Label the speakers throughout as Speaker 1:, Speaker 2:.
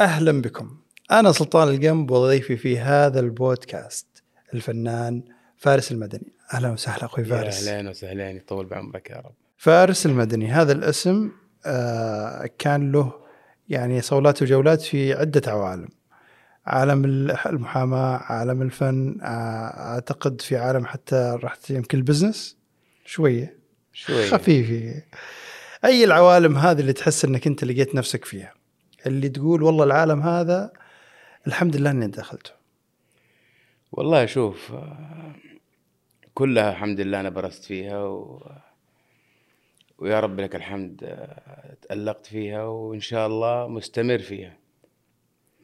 Speaker 1: اهلا بكم انا سلطان القنب وضيفي في هذا البودكاست الفنان فارس المدني اهلا وسهلا اخوي فارس
Speaker 2: يا اهلين وسهلين يطول بعمرك يا رب
Speaker 1: فارس المدني هذا الاسم آه، كان له يعني صولات وجولات في عدة عوالم عالم الح- المحاماة عالم الفن آه، أعتقد في عالم حتى رحت يمكن البزنس شوية
Speaker 2: شوي
Speaker 1: خفيفة أي العوالم هذه اللي تحس أنك أنت لقيت نفسك فيها اللي تقول والله العالم هذا الحمد لله أني دخلته
Speaker 2: والله شوف آه، كلها الحمد لله انا برست فيها و... ويا رب لك الحمد آه، تألقت فيها وان شاء الله مستمر فيها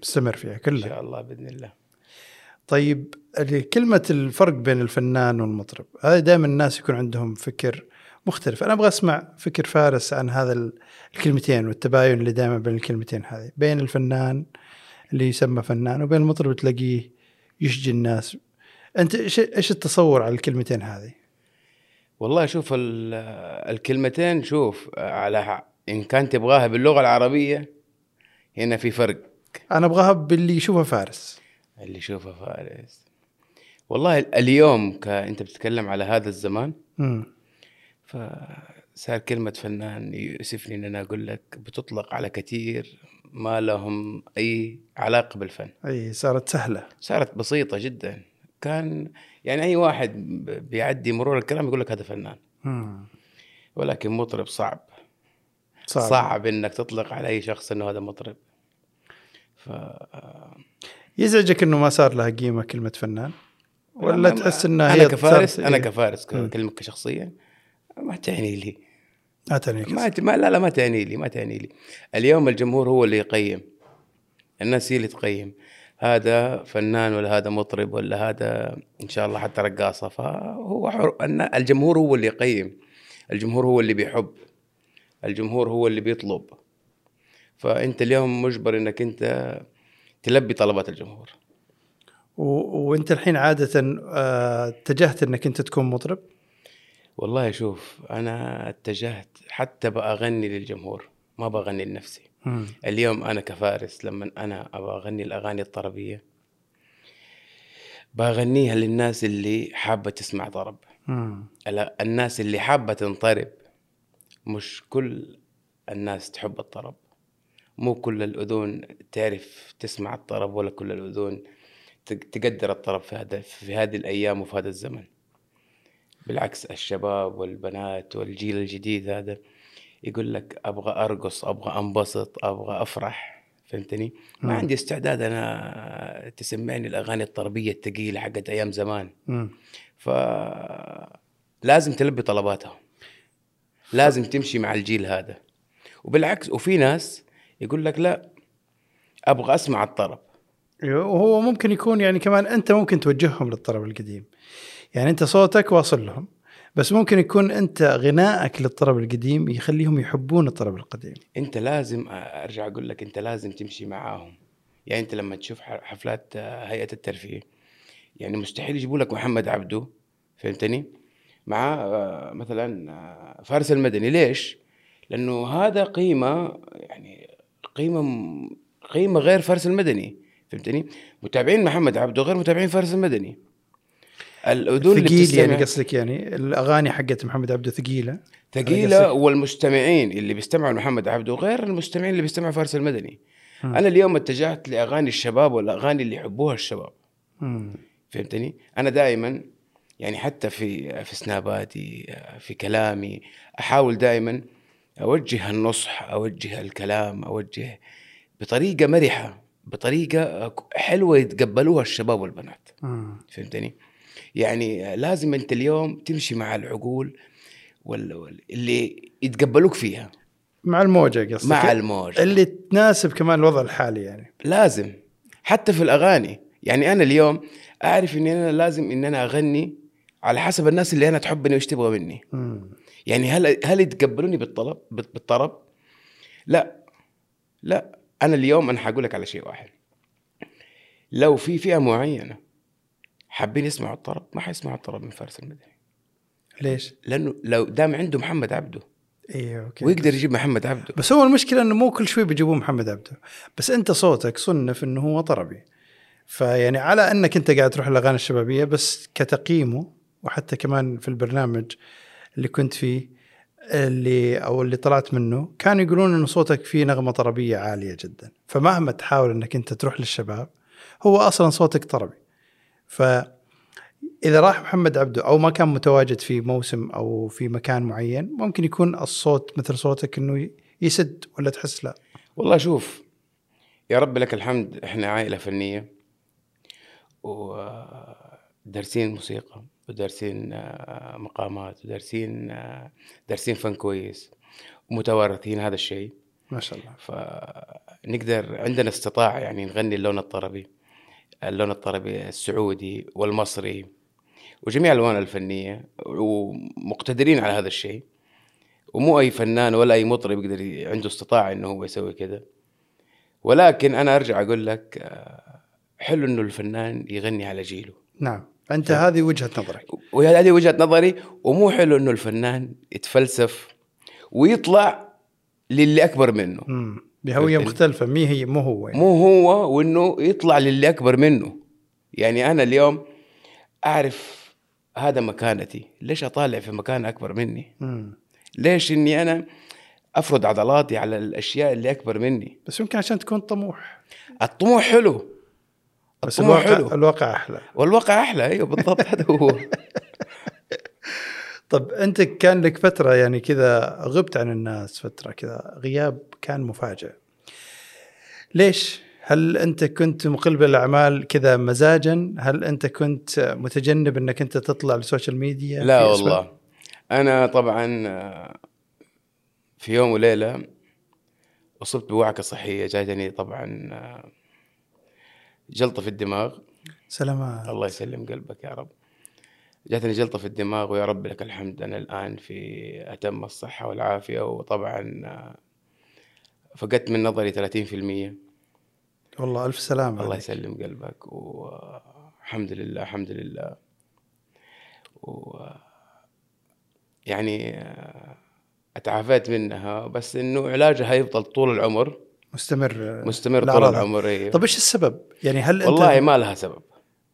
Speaker 1: مستمر فيها
Speaker 2: ان
Speaker 1: كلها
Speaker 2: شاء الله باذن الله
Speaker 1: طيب كلمة الفرق بين الفنان والمطرب هذا دائما الناس يكون عندهم فكر مختلف أنا أبغى أسمع فكر فارس عن هذا ال- الكلمتين والتباين اللي دائما بين الكلمتين هذه بين الفنان اللي يسمى فنان وبين المطرب تلاقيه يشجي الناس أنت إيش إيش التصور على الكلمتين هذه
Speaker 2: والله شوف ال- آه، الكلمتين شوف آه، على ح- ان كان تبغاها باللغه العربيه هنا في فرق
Speaker 1: أنا أبغاها باللي يشوفها فارس
Speaker 2: اللي يشوفه فارس والله ال- اليوم ك... انت بتتكلم على هذا الزمان
Speaker 1: مم.
Speaker 2: فصار كلمة فنان يؤسفني إن أنا أقول لك بتطلق على كثير ما لهم أي علاقة بالفن
Speaker 1: أي صارت سهلة
Speaker 2: صارت بسيطة جدا كان يعني أي واحد ب- بيعدي مرور الكلام يقول لك هذا فنان
Speaker 1: مم.
Speaker 2: ولكن مطرب صعب
Speaker 1: صعب.
Speaker 2: صعب, صعب إنك تطلق على أي شخص إنه هذا مطرب ف...
Speaker 1: يزعجك أنه ما صار لها قيمة كلمة فنان ولا
Speaker 2: أنا-
Speaker 1: تحس أنها
Speaker 2: أنا
Speaker 1: هي
Speaker 2: كفارس
Speaker 1: صارت-
Speaker 2: أنا
Speaker 1: إيه.
Speaker 2: كفارس
Speaker 1: مم.
Speaker 2: ك- كلمة كشخصية ما تعني لي
Speaker 1: ما تعنيك
Speaker 2: ما, ما لا لا ما تعني لي ما تعني لي اليوم الجمهور هو اللي يقيم الناس هي اللي تقيم هذا فنان ولا هذا مطرب ولا هذا ان شاء الله حتى رقاصه فهو حر... النا- الجمهور هو اللي يقيم الجمهور هو اللي بيحب الجمهور هو اللي بيطلب فانت اليوم مجبر انك انت تلبي طلبات الجمهور
Speaker 1: و... وانت الحين عاده آه، اتجهت انك انت تكون مطرب
Speaker 2: والله شوف انا اتجهت حتى بأغني للجمهور ما بغني لنفسي اليوم انا كفارس لما انا ابغى اغني الاغاني الطربيه بغنيها للناس اللي حابه تسمع طرب
Speaker 1: مم.
Speaker 2: ال- الناس اللي حابه تنطرب مش كل الناس تحب الطرب مو كل الاذون تعرف تسمع الطرب ولا كل الاذون ت- تقدر الطرب في هذا في هذه الايام وفي هذا الزمن بالعكس الشباب والبنات والجيل الجديد هذا يقول لك ابغى ارقص ابغى انبسط ابغى افرح فهمتني؟ ما
Speaker 1: مم.
Speaker 2: عندي استعداد انا تسمعني الاغاني الطربيه الثقيله حقت ايام زمان
Speaker 1: مم.
Speaker 2: ف لازم تلبي طلباتهم لازم تمشي مع الجيل هذا وبالعكس وفي ناس يقول لك لا ابغى اسمع الطرب
Speaker 1: ايوه وهو ممكن يكون يعني كمان انت ممكن توجههم للطرب القديم يعني انت صوتك واصل لهم بس ممكن يكون انت غنائك للطرب القديم يخليهم يحبون الطرب القديم
Speaker 2: انت لازم ارجع اقول لك انت لازم تمشي معاهم يعني انت لما تشوف ح- حفلات آه، هيئه الترفيه يعني مستحيل يجيبوا لك محمد عبده فهمتني مع آه، مثلا آه، فارس المدني ليش لانه هذا قيمه يعني قيمه م- قيمه غير فارس المدني فهمتني متابعين محمد عبده غير متابعين فارس المدني الاذون اللي
Speaker 1: ثقيل يعني
Speaker 2: بتستمع-
Speaker 1: قصدك يعني الاغاني حقت محمد عبده ثقيله
Speaker 2: ثقيله والمستمعين اللي بيستمعوا لمحمد عبده غير المستمعين اللي بيستمعوا فارس المدني
Speaker 1: مم.
Speaker 2: انا اليوم اتجهت لاغاني الشباب والاغاني اللي يحبوها الشباب
Speaker 1: مم.
Speaker 2: فهمتني انا دائما يعني حتى في في سناباتي في كلامي احاول دائما اوجه النصح اوجه الكلام اوجه بطريقه مرحه بطريقه حلوه يتقبلوها الشباب والبنات
Speaker 1: مم.
Speaker 2: فهمتني؟ يعني لازم انت اليوم تمشي مع العقول وال- وال- اللي يتقبلوك فيها
Speaker 1: مع الموجه قصدك
Speaker 2: مع الموج
Speaker 1: اللي تناسب كمان الوضع الحالي يعني
Speaker 2: لازم حتى في الاغاني يعني انا اليوم اعرف ان انا لازم ان انا اغني على حسب الناس اللي انا تحبني وايش تبغى مني
Speaker 1: مم.
Speaker 2: يعني هل هل يتقبلوني بالطلب بال- بالطرب لا لا انا اليوم انا حقول لك على شيء واحد لو في فئه معينه حابين يسمعوا الطرب ما حيسمعوا الطرب من فارس المدني
Speaker 1: ليش؟ إيه،
Speaker 2: لانه لو دام عنده محمد عبده
Speaker 1: اي اوكي
Speaker 2: ويقدر يجيب محمد عبده
Speaker 1: بس هو المشكله انه مو كل شوي بيجيبون محمد عبده بس انت صوتك صنف انه هو طربي فيعني على انك انت قاعد تروح الاغاني الشبابيه بس كتقييمه وحتى كمان في البرنامج اللي كنت فيه اللي او اللي طلعت منه كانوا يقولون انه صوتك فيه نغمه طربيه عاليه جدا فمهما تحاول انك انت تروح للشباب هو اصلا صوتك طربي ف اذا راح محمد عبده او ما كان متواجد في موسم او في مكان معين ممكن يكون الصوت مثل صوتك انه يسد ولا تحس لا
Speaker 2: والله شوف يا رب لك الحمد احنا عائله فنيه ودارسين موسيقى ودارسين آه، مقامات ودارسين آه، دارسين فن كويس ومتوارثين هذا الشيء
Speaker 1: ما شاء الله
Speaker 2: فنقدر عندنا استطاعة يعني نغني اللون الطربي اللون الطربي السعودي والمصري وجميع الألوان الفنية ومقتدرين على هذا الشيء ومو أي فنان ولا أي مطرب يقدر ي- عنده استطاعة إنه هو يسوي كذا ولكن أنا أرجع أقول لك آه، حلو إنه الفنان يغني على جيله
Speaker 1: نعم انت هذه وجهه نظرك
Speaker 2: وهذه وجهه نظري ومو حلو انه الفنان يتفلسف ويطلع للي اكبر منه
Speaker 1: امم بهويه
Speaker 2: ال-
Speaker 1: مختلفه مي هي مو هو يعني.
Speaker 2: مو هو وانه يطلع للي اكبر منه يعني انا اليوم اعرف هذا مكانتي ليش اطالع في مكان اكبر مني
Speaker 1: مم.
Speaker 2: ليش اني انا افرض عضلاتي على الاشياء اللي اكبر مني
Speaker 1: بس يمكن عشان تكون طموح
Speaker 2: الطموح حلو
Speaker 1: بس
Speaker 2: الطموح
Speaker 1: الواقع
Speaker 2: حلو
Speaker 1: الواقع احلى
Speaker 2: والواقع احلى ايوه بالضبط هذا هو
Speaker 1: طب انت كان لك فتره يعني كذا غبت عن الناس فتره كذا غياب كان مفاجئ ليش هل انت كنت مقلب الاعمال كذا مزاجا هل انت كنت متجنب انك انت تطلع للسوشيال ميديا
Speaker 2: لا
Speaker 1: في أسباب؟
Speaker 2: والله انا طبعا آه، في يوم وليله اصبت بوعكه صحيه جاتني طبعا آه، جلطه في الدماغ
Speaker 1: سلامات
Speaker 2: الله يسلم قلبك يا رب جاتني جلطه في الدماغ ويا رب لك الحمد انا الان في اتم الصحه والعافيه وطبعا آه، فقدت من نظري 30%
Speaker 1: والله الف سلامه
Speaker 2: الله
Speaker 1: الله
Speaker 2: يسلم قلبك والحمد لله الحمد لله و آه، يعني آه، اتعافيت منها بس انه علاجها يفضل طول العمر
Speaker 1: مستمر
Speaker 2: مستمر طول
Speaker 1: الأعراض.
Speaker 2: العمر إيه.
Speaker 1: طب ايش السبب؟ يعني هل انت
Speaker 2: والله ما لها سبب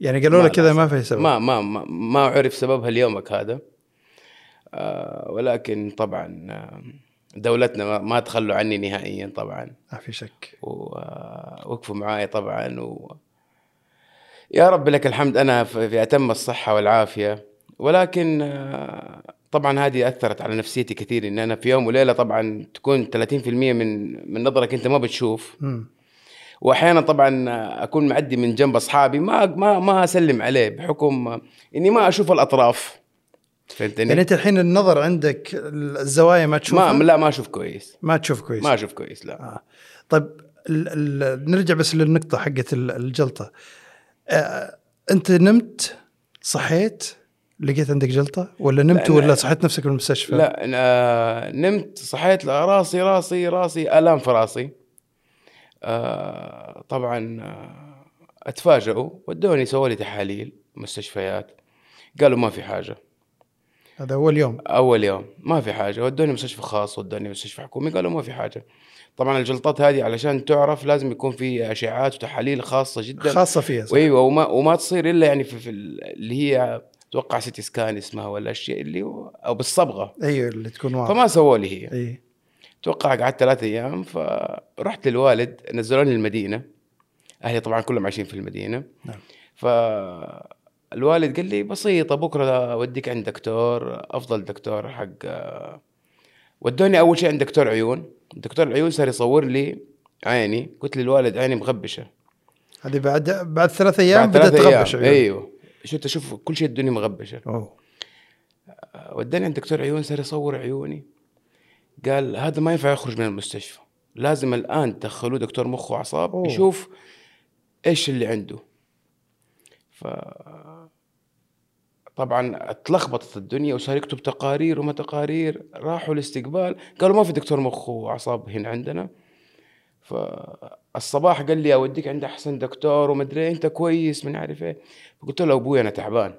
Speaker 1: يعني قالوا
Speaker 2: ما
Speaker 1: لك كذا
Speaker 2: لازم.
Speaker 1: ما في سبب
Speaker 2: ما ما ما, ما عرف سببها ليومك هذا آه، ولكن طبعا آه، دولتنا ما- ما تخلوا عني نهائيا طبعا
Speaker 1: ما في شك
Speaker 2: و- آه، وقفوا معاي طبعا و... يا رب لك الحمد انا في في اتم الصحه والعافيه ولكن آه، طبعا هذه اثرت على نفسيتي كثير ان انا في يوم وليله طبعا تكون 30% من من نظرك انت ما بتشوف
Speaker 1: مم.
Speaker 2: واحيانا طبعا آه، اكون معدي من جنب اصحابي ما ما ما اسلم عليه بحكم آه، اني ما اشوف الاطراف فهمتني؟
Speaker 1: يعني انت الحين النظر عندك الزوايا ما تشوفها
Speaker 2: ما لا ما اشوف كويس
Speaker 1: ما تشوف كويس
Speaker 2: ما اشوف كويس لا
Speaker 1: آه. طيب ال ال نرجع بس للنقطة حقت ال- الجلطة آه أنت نمت صحيت لقيت عندك جلطة ولا نمت
Speaker 2: لا،
Speaker 1: ولا
Speaker 2: لا.
Speaker 1: صحيت نفسك بالمستشفى
Speaker 2: لا أنا نمت صحيت لا، راسي راسي راسي الام في راسي آه، طبعا آه، اتفاجئوا ودوني سووا لي تحاليل مستشفيات قالوا ما في حاجه
Speaker 1: هذا أول يوم
Speaker 2: اول يوم ما في حاجه ودوني مستشفى خاص ودوني مستشفى حكومي قالوا ما في حاجه طبعا الجلطات هذه علشان تعرف لازم يكون في اشعاعات وتحاليل خاصه جدا
Speaker 1: خاصة فيها صح؟
Speaker 2: وايوه وما وما تصير الا يعني في, في ال- اللي هي اتوقع سيتي سكان اسمها ولا الشيء اللي هو او بالصبغه
Speaker 1: أيوه اللي تكون واضحة
Speaker 2: فما سووا لي هي
Speaker 1: أي
Speaker 2: اتوقع قعدت ثلاثة ايام فرحت للوالد نزلوني المدينه اهلي طبعا كلهم عايشين في المدينه
Speaker 1: نعم.
Speaker 2: فالوالد قال لي بسيطه بكره اوديك عند دكتور افضل دكتور حق ودوني اول شيء عند دكتور عيون دكتور العيون صار يصور لي عيني قلت للوالد عيني مغبشه
Speaker 1: هذه بعد بعد ثلاث أيام
Speaker 2: بعد
Speaker 1: بدأت
Speaker 2: ثلاثة
Speaker 1: تغبش
Speaker 2: أيام. ايوه شفت اشوف كل شيء الدنيا مغبشه
Speaker 1: أوه.
Speaker 2: وداني عند دكتور عيون صار يصور عيوني قال هذا ما ينفع يخرج من المستشفى لازم الان تدخلوه دكتور مخ واعصاب
Speaker 1: أوه.
Speaker 2: يشوف ايش اللي عنده ف طبعا اتلخبطت الدنيا وصار يكتب تقارير وما تقارير راحوا الاستقبال قالوا ما في دكتور مخ واعصاب هنا عندنا فالصباح قال لي اوديك عند احسن دكتور ومدري إيه، انت كويس من عارف ايه فقلت له ابوي انا تعبان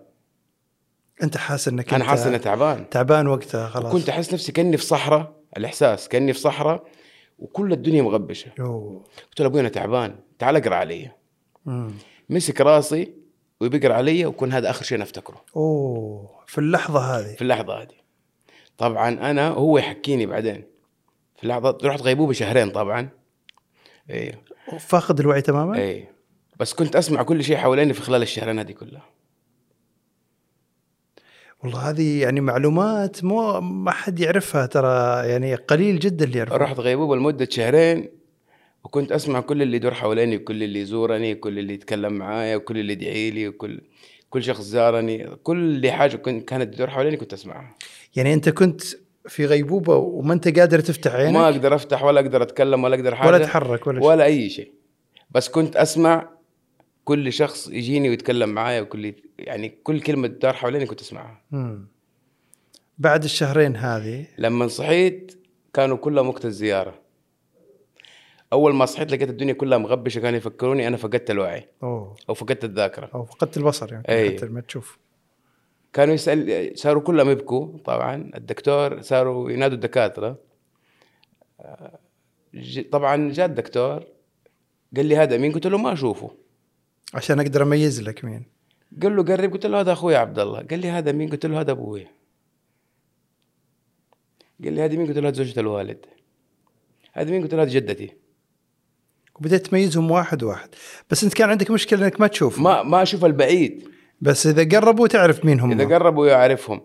Speaker 1: أنت حاسس أنك
Speaker 2: انا
Speaker 1: أنت
Speaker 2: حاسس اني تعبان
Speaker 1: تعبان وقتها خلاص
Speaker 2: كنت احس نفسي كاني في صحراء الاحساس كاني في صحراء وكل الدنيا مغبشه
Speaker 1: أوه.
Speaker 2: قلت له ابوي انا تعبان تعال اقرا علي
Speaker 1: مم.
Speaker 2: مسك راسي وبيقرا علي وكون هذا اخر شيء انا افتكره
Speaker 1: اوه في اللحظه هذه
Speaker 2: في اللحظه هذه طبعا انا هو يحكيني بعدين في اللحظه رحت غيبوبه شهرين طبعا ايوه
Speaker 1: فاقد الوعي تماما
Speaker 2: اي إيه. بس كنت اسمع كل شيء حواليني في خلال الشهرين هذه كلها
Speaker 1: والله هذه يعني معلومات مو ما حد يعرفها ترى يعني قليل جدا اللي يعرفها
Speaker 2: رحت غيبوبه لمده شهرين وكنت اسمع كل اللي يدور حواليني كل اللي يزورني كل اللي يتكلم معايا وكل اللي يدعي لي وكل كل شخص زارني كل حاجه كنت كانت تدور حواليني كنت اسمعها
Speaker 1: يعني انت كنت في غيبوبه وما انت قادر تفتح عينك
Speaker 2: ما اقدر افتح ولا اقدر اتكلم يعني ولا اقدر حاجه
Speaker 1: ولا تحرك ولا, شيء
Speaker 2: ولا اي شيء بس كنت اسمع كل شخص يجيني ويتكلم معايا وكل يعني كل كلمه تدار حواليني كنت اسمعها
Speaker 1: مم. بعد الشهرين هذه
Speaker 2: لما صحيت كانوا كلهم وقت الزيارة أول ما صحيت لقيت الدنيا كلها مغبشة كانوا يفكروني أنا فقدت الوعي
Speaker 1: اوه
Speaker 2: أو فقدت الذاكرة
Speaker 1: او فقدت البصر يعني
Speaker 2: أي.
Speaker 1: حتى ما تشوف
Speaker 2: كانوا يسأل صاروا كلهم يبكوا طبعا الدكتور صاروا ينادوا الدكاترة آه، ج- طبعا جاء الدكتور قال لي هذا مين قلت له ما أشوفه
Speaker 1: عشان اقدر اميز لك مين
Speaker 2: قال له قرب قلت له هذا اخوي عبد الله قال لي هذا مين قلت له هذا ابوي قال لي هذه مين قلت له هذه زوجة الوالد هذه مين قلت له هذه جدتي
Speaker 1: وبدأت تميزهم واحد واحد بس انت كان عندك مشكله انك ما تشوف
Speaker 2: ما ما اشوف البعيد
Speaker 1: بس اذا قربوا تعرف مين هم
Speaker 2: اذا قربوا يعرفهم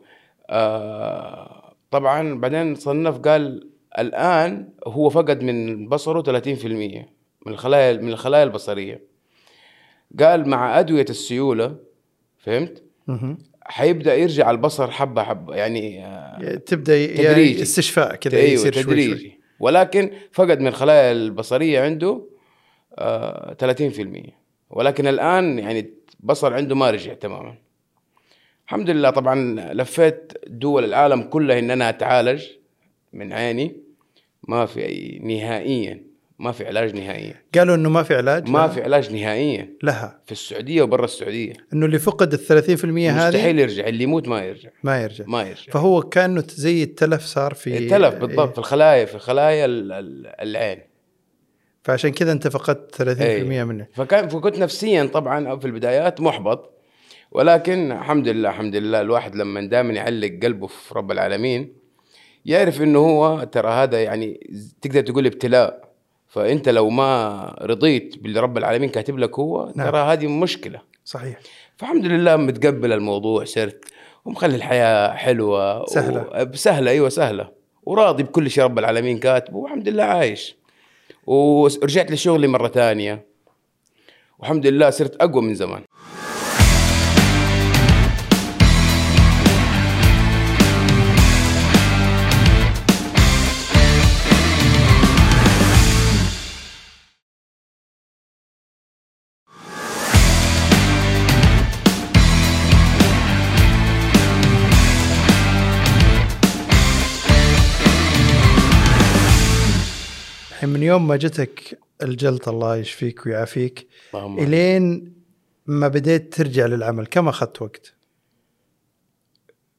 Speaker 2: آه طبعا بعدين صنف قال الان هو فقد من بصره 30% من الخلايا من الخلايا البصريه قال مع ادويه السيوله فهمت
Speaker 1: مهم.
Speaker 2: حيبدا يرجع البصر حبه حبه يعني آه
Speaker 1: تبدا ي-
Speaker 2: تدريجي.
Speaker 1: يعني استشفاء كذا
Speaker 2: أيوة
Speaker 1: يصير شوي
Speaker 2: تدريجي
Speaker 1: شوي
Speaker 2: ولكن فقد من الخلايا البصريه عنده آه 30% ولكن الان يعني بصر عنده ما رجع تماما الحمد لله طبعا لفيت دول العالم كلها ان انا اتعالج من عيني ما في أي نهائيا ما في علاج نهائيا
Speaker 1: قالوا انه ما في علاج
Speaker 2: ما
Speaker 1: لا.
Speaker 2: في علاج نهائيا
Speaker 1: لها
Speaker 2: في السعوديه وبرا السعوديه
Speaker 1: انه اللي فقد ال 30% هذه
Speaker 2: مستحيل يرجع اللي يموت ما يرجع
Speaker 1: ما يرجع
Speaker 2: ما يرجع
Speaker 1: فهو كانه زي التلف صار في
Speaker 2: التلف بالضبط في
Speaker 1: إيه.
Speaker 2: الخلايا في خلايا ال- ال- العين
Speaker 1: فعشان كذا انت فقدت 30%
Speaker 2: إيه.
Speaker 1: منه
Speaker 2: فكان فكنت نفسيا طبعا في البدايات محبط ولكن الحمد لله الحمد لله الواحد لما دائما يعلق قلبه في رب العالمين يعرف انه هو ترى هذا يعني تقدر تقول ابتلاء فانت لو ما رضيت باللي رب العالمين كاتب لك هو
Speaker 1: نعم.
Speaker 2: ترى هذه مشكله
Speaker 1: صحيح
Speaker 2: فالحمد لله متقبل الموضوع صرت ومخلي الحياه حلوه
Speaker 1: سهلة.
Speaker 2: و... سهله ايوه سهله وراضي بكل شيء رب العالمين كاتبه والحمد لله عايش ورجعت لشغلي مره ثانيه والحمد لله صرت اقوى من زمان
Speaker 1: الحين من يوم ما جتك الجلطه الله يشفيك ويعافيك
Speaker 2: اللهم آمين.
Speaker 1: الين ما بديت ترجع للعمل كم اخذت وقت؟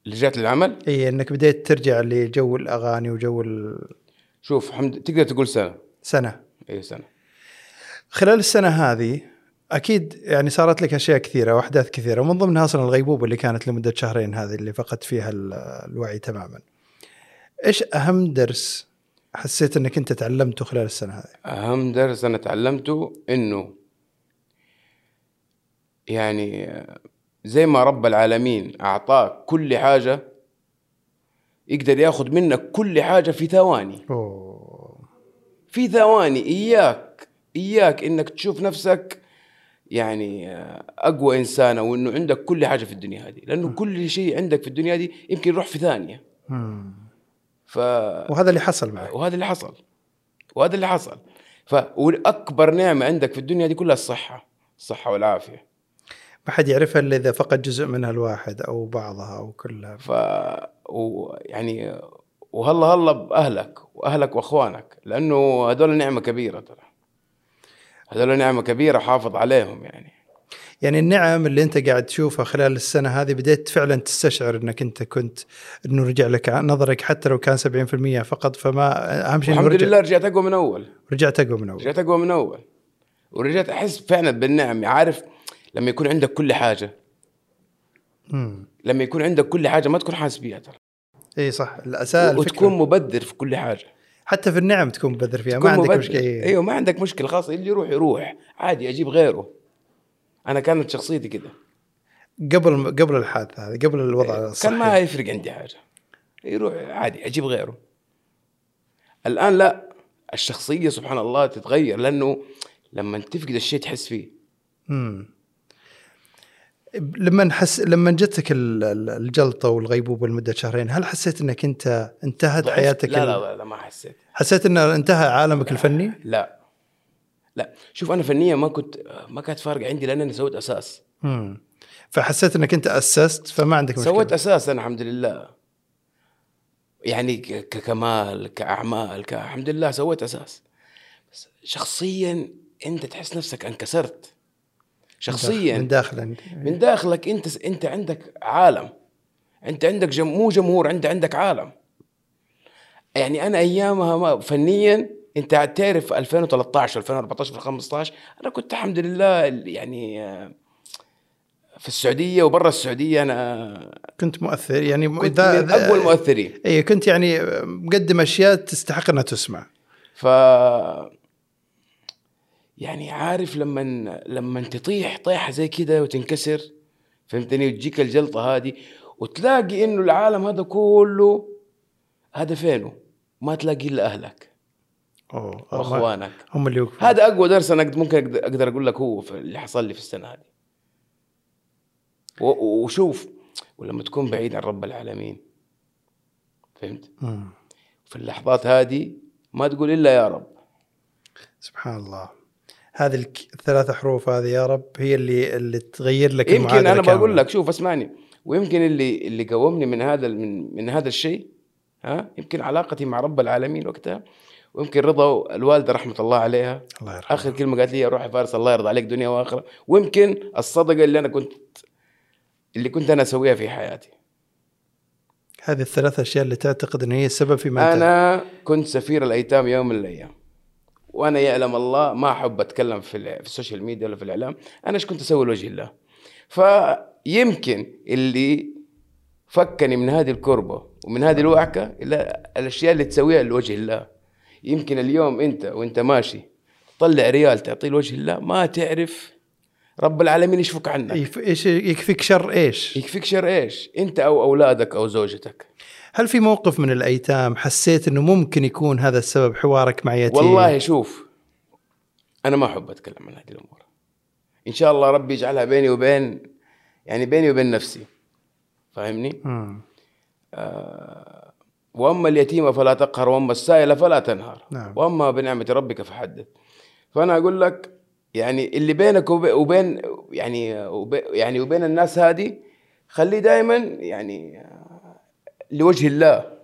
Speaker 2: رجعت للعمل
Speaker 1: اي انك بديت ترجع لجو الاغاني وجو السنه
Speaker 2: شوف حمد تقدر تقول أيوة سنه اي سنه
Speaker 1: خلال السنه هذه اكيد يعني صارت لك اشياء كثيره واحداث كثيره ومن ضمنها اصلا الغيبوبه اللي كانت لمده شهرين هذه اللي فقدت فيها ال- الوعي تماما. ايش اهم درس حسيت انك انت تعلمته خلال السنه هذه؟
Speaker 2: اهم درس انا تعلمته انه يعني زي ما رب العالمين اعطاك كل حاجه يقدر ياخذ منك كل حاجه في ثواني
Speaker 1: اوه
Speaker 2: في ثواني اياك اياك انك تشوف نفسك يعني اقوى انسان او انه عندك كل حاجه في الدنيا هذه لانه كل شيء عندك في الدنيا هذه يمكن يروح في ثانيه
Speaker 1: مم.
Speaker 2: ف
Speaker 1: وهذا اللي حصل معك
Speaker 2: وهذا اللي حصل وهذا اللي حصل ف واكبر نعمه عندك في الدنيا دي كلها الصحه الصحه والعافيه
Speaker 1: ما حد يعرفها الا اذا فقد جزء منها الواحد او بعضها او كلها
Speaker 2: ف و... يعني وهلا هلا باهلك واهلك واخوانك لانه هذول نعمه كبيره ترى هذول نعمه كبيره حافظ عليهم يعني
Speaker 1: يعني النعم اللي انت قاعد تشوفها خلال السنه هذه بديت فعلا تستشعر انك انت كنت انه رجع لك نظرك حتى لو كان 70% فقط فما اهم شيء انه
Speaker 2: الحمد
Speaker 1: رجع
Speaker 2: لله رجعت اقوى من اول
Speaker 1: رجعت اقوى من اول
Speaker 2: رجعت اقوى من اول ورجعت احس فعلا بالنعم عارف لما يكون عندك كل حاجه
Speaker 1: مم.
Speaker 2: لما يكون عندك كل حاجه ما تكون حاسس بيها ترى
Speaker 1: اي صح الاساءه
Speaker 2: وتكون
Speaker 1: الفكرة.
Speaker 2: مبدر في كل حاجه
Speaker 1: حتى في النعم تكون مبذر فيها ما
Speaker 2: تكون
Speaker 1: عندك
Speaker 2: مبدع.
Speaker 1: مشكله إيه.
Speaker 2: ايوه ما عندك مشكله خلاص اللي يروح يروح عادي اجيب غيره انا كانت شخصيتي كده
Speaker 1: قبل قبل الحادثه هذه قبل الوضع الصحي
Speaker 2: إيه، كان ما يفرق عندي حاجه يروح عادي اجيب غيره الان لا الشخصيه سبحان الله تتغير لانه لما تفقد الشيء تحس فيه
Speaker 1: مم. لما حس لما جتك ال- ال- الجلطه والغيبوبه لمده شهرين هل حسيت انك انت انتهت
Speaker 2: ضعفت.
Speaker 1: حياتك
Speaker 2: لا
Speaker 1: ال-
Speaker 2: لا, لا لا ما حسيت
Speaker 1: حسيت انه انتهى عالمك الفني
Speaker 2: لا لا شوف انا فنيا ما كنت ما كانت فارقه عندي لان انا سويت اساس
Speaker 1: مم. فحسيت انك انت اسست فما عندك مشكله
Speaker 2: آه. سويت اساس انا الحمد لله يعني ك- ككمال كاعمال ك- الحمد لله سويت اساس بس شخصيا انت تحس نفسك انكسرت
Speaker 1: من
Speaker 2: شخصيا
Speaker 1: داخل عندي.
Speaker 2: من داخلك انت انت عندك عالم انت عندك جم... مو جمهور انت عندك عالم يعني انا ايامها ما فنيا انت تعرف 2013 2014 2015 انا كنت الحمد لله ال- يعني آه، في السعوديه وبرا السعوديه انا
Speaker 1: كنت مؤثر يعني م-
Speaker 2: كنت
Speaker 1: ذا-
Speaker 2: من
Speaker 1: ذا-
Speaker 2: اقوى المؤثرين
Speaker 1: اي كنت يعني مقدم اشياء تستحق انها تسمع
Speaker 2: ف يعني عارف لما لما تطيح طيحه زي كده وتنكسر فهمتني وتجيك الجلطه هذه وتلاقي انه العالم هذا كله هدفينه ما تلاقي الا اهلك
Speaker 1: اوه هم-
Speaker 2: واخوانك
Speaker 1: هم اللي يوقفوا
Speaker 2: هذا اقوى درس انا قد- ممكن أقد- اقدر اقول لك هو في- اللي حصل لي في السنه هذه و- وشوف ولما تكون بعيد عن رب العالمين فهمت
Speaker 1: مم.
Speaker 2: في اللحظات هذه ما تقول الا يا رب
Speaker 1: سبحان الله هذه الك- الثلاث حروف هذه يا رب هي اللي اللي تغير لك
Speaker 2: يمكن
Speaker 1: المعادلة
Speaker 2: انا بقول
Speaker 1: كاملة.
Speaker 2: لك شوف اسمعني ويمكن اللي اللي قومني من هذا من من هذا الشيء ها يمكن علاقتي مع رب العالمين وقتها ويمكن رضا الوالده رحمه الله عليها
Speaker 1: الله يرحمه
Speaker 2: اخر كلمه قالت لي روح يا فارس الله يرضى عليك دنيا واخره ويمكن الصدقه اللي انا كنت اللي كنت انا اسويها في حياتي
Speaker 1: هذه الثلاث اشياء اللي تعتقد ان هي السبب في ما انت
Speaker 2: انا كنت سفير الايتام يوم من الايام وانا يعلم الله ما احب اتكلم في, ال- في السوشيال ميديا ولا في الاعلام انا ايش كنت اسوي لوجه الله فيمكن اللي فكني من هذه الكربه ومن هذه الوعكه الى الاشياء اللي تسويها لوجه الله يمكن اليوم انت وانت ماشي تطلع ريال تعطيه لوجه الله ما تعرف رب العالمين يشفك عنك
Speaker 1: يف- ايش يكفيك شر ايش؟
Speaker 2: يكفيك شر ايش انت او اولادك او زوجتك
Speaker 1: هل في موقف من الايتام حسيت انه ممكن يكون هذا السبب حوارك مع يتيم؟
Speaker 2: والله شوف انا ما احب اتكلم عن هذه الامور ان شاء الله ربي يجعلها بيني وبين يعني بيني وبين نفسي فاهمني
Speaker 1: مم.
Speaker 2: واما اليتيمه فلا تقهر واما السائله فلا تنهر
Speaker 1: نعم.
Speaker 2: واما بنعمه ربك فحدث فانا اقول لك يعني اللي بينك وب- وبين يعني وب- يعني وبين الناس هذه خليه دائما يعني آه، لوجه الله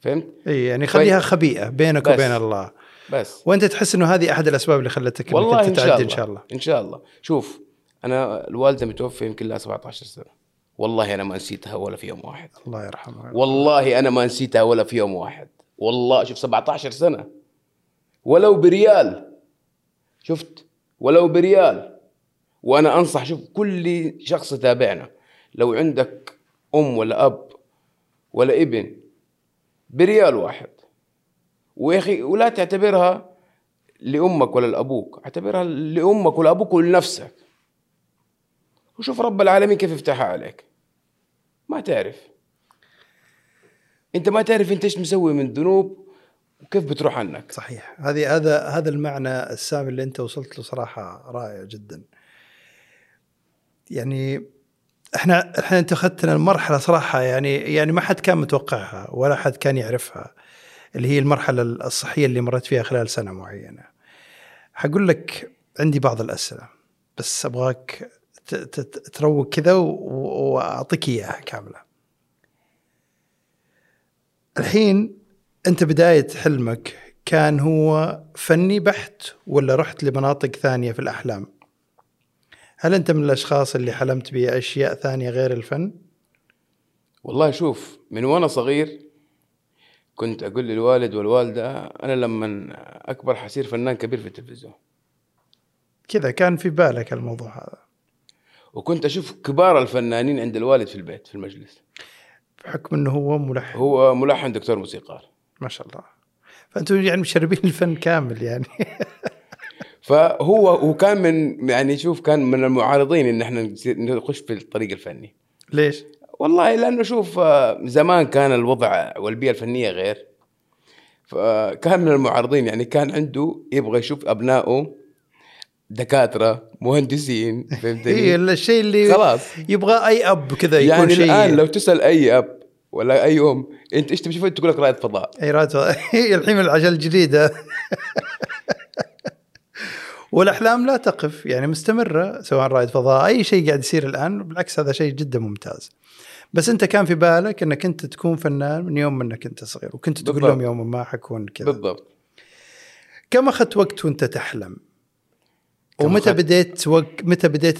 Speaker 2: فهمت
Speaker 1: اي يعني خليها خبيئه بينك
Speaker 2: طيب. بس.
Speaker 1: وبين الله
Speaker 2: بس
Speaker 1: وانت تحس انه هذه احد الاسباب اللي خلتك انك
Speaker 2: والله
Speaker 1: انت
Speaker 2: ان شاء
Speaker 1: تعدي
Speaker 2: الله
Speaker 1: ان شاء الله
Speaker 2: ان شاء الله شوف انا الوالده متوفيه يمكن لها 17 سنه والله انا ما نسيتها ولا في يوم واحد
Speaker 1: الله يرحمه
Speaker 2: والله انا ما نسيتها ولا في يوم واحد والله شوف 17 سنه ولو بريال شفت ولو بريال وانا انصح شوف كل شخص تابعنا لو عندك ام ولا اب ولا ابن بريال واحد ويا اخي ولا تعتبرها لامك ولا لابوك اعتبرها لامك ولابوك ولنفسك وشوف رب العالمين كيف يفتحها عليك ما تعرف انت ما تعرف انت ايش مسوي من ذنوب وكيف بتروح عنك
Speaker 1: صحيح هذه هذا هذا المعنى السامي اللي انت وصلت له صراحه رائع جدا يعني احنا احنا انت اخذتنا المرحله صراحه يعني يعني ما حد كان متوقعها ولا حد كان يعرفها اللي هي المرحله الصحيه اللي مرت فيها خلال سنه معينه حقول لك عندي بعض الاسئله بس ابغاك ت- ت- ت- تروق كذا و- و- واعطيك اياها كامله الحين انت بدايه حلمك كان هو فني بحت ولا رحت لمناطق ثانيه في الاحلام؟ هل انت من الاشخاص اللي حلمت باشياء ثانيه غير الفن؟
Speaker 2: والله شوف من وانا صغير كنت اقول للوالد والوالده انا لما اكبر حصير فنان كبير في التلفزيون
Speaker 1: كذا كان في بالك الموضوع هذا
Speaker 2: وكنت اشوف كبار الفنانين عند الوالد في البيت في المجلس
Speaker 1: بحكم انه هو ملحن
Speaker 2: هو ملحن دكتور موسيقار
Speaker 1: ما شاء الله فانتم يعني مشربين الفن كامل يعني
Speaker 2: فهو وكان من يعني شوف كان من المعارضين ان احنا نصير- نخش في الطريق الفني
Speaker 1: ليش؟
Speaker 2: والله لانه شوف آه، زمان كان الوضع والبيئه الفنيه غير فكان من المعارضين يعني كان عنده يبغى يشوف ابنائه دكاتره مهندسين
Speaker 1: اي
Speaker 2: فهمتني
Speaker 1: إيه، الشيء اللي
Speaker 2: خلاص
Speaker 1: يبغى اي اب كذا يكون
Speaker 2: يعني
Speaker 1: شيء
Speaker 2: الان لو تسال اي اب ولا اي ام انت ايش تبي تشوف تقول لك رائد فضاء
Speaker 1: ايراد الحين العجل الجديده والاحلام لا تقف يعني مستمره سواء رائد فضاء اي شيء قاعد يصير الان بالعكس هذا شيء جدا ممتاز بس انت كان في بالك انك انت تكون فنان من يوم انك انت صغير وكنت تقول
Speaker 2: بالضبط.
Speaker 1: لهم يوما ما حكون كذا
Speaker 2: بالضبط
Speaker 1: كم اخذت وقت وانت تحلم
Speaker 2: كم
Speaker 1: ومتى
Speaker 2: أخذت؟
Speaker 1: بديت وق... متى بديت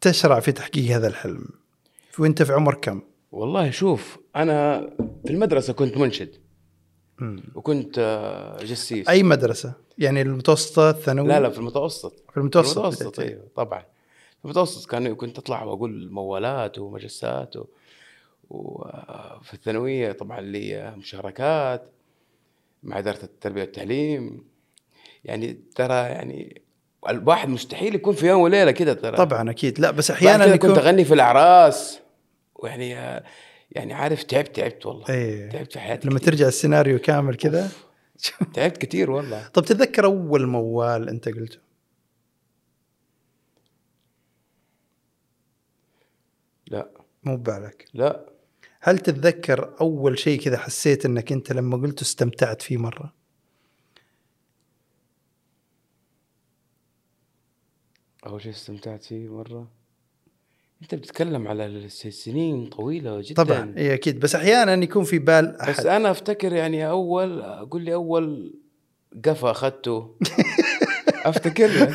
Speaker 1: تشرع في تحقيق هذا الحلم وانت في عمر كم
Speaker 2: والله شوف انا في المدرسه كنت منشد
Speaker 1: مم.
Speaker 2: وكنت آه، جسيس
Speaker 1: اي مدرسه يعني المتوسطه الثانوي
Speaker 2: لا لا في المتوسط
Speaker 1: في المتوسط,
Speaker 2: المتوسط
Speaker 1: بديت.
Speaker 2: ايوه طبعا في المتوسط كان كنت اطلع واقول موالات ومجسات و... وفي الثانويه طبعا لي مشاركات مع اداره التربيه والتعليم يعني ترى يعني الواحد مستحيل يكون في يوم وليله كده ترى
Speaker 1: طبعا اكيد لا بس
Speaker 2: احيانا
Speaker 1: احيانا
Speaker 2: كنت
Speaker 1: يكون
Speaker 2: اغني في الاعراس ويعني يعني عارف تعبت تعبت والله
Speaker 1: ايه
Speaker 2: تعبت في حياتي
Speaker 1: لما
Speaker 2: كتير.
Speaker 1: ترجع السيناريو كامل كذا
Speaker 2: تعبت كثير والله
Speaker 1: طب تتذكر اول موال انت قلته
Speaker 2: لا
Speaker 1: مو ببالك
Speaker 2: لا
Speaker 1: هل تتذكر اول شيء كذا حسيت انك انت لما قلته استمتعت فيه مره
Speaker 2: أول شيء استمتعت فيه مرة أنت بتتكلم على الس- سنين طويلة جدا
Speaker 1: طبعا اي اكيد إيه، بس احيانا يكون في بال احد
Speaker 2: بس أنا أفتكر يعني أول قول لي أول قفا أخذته أفتكر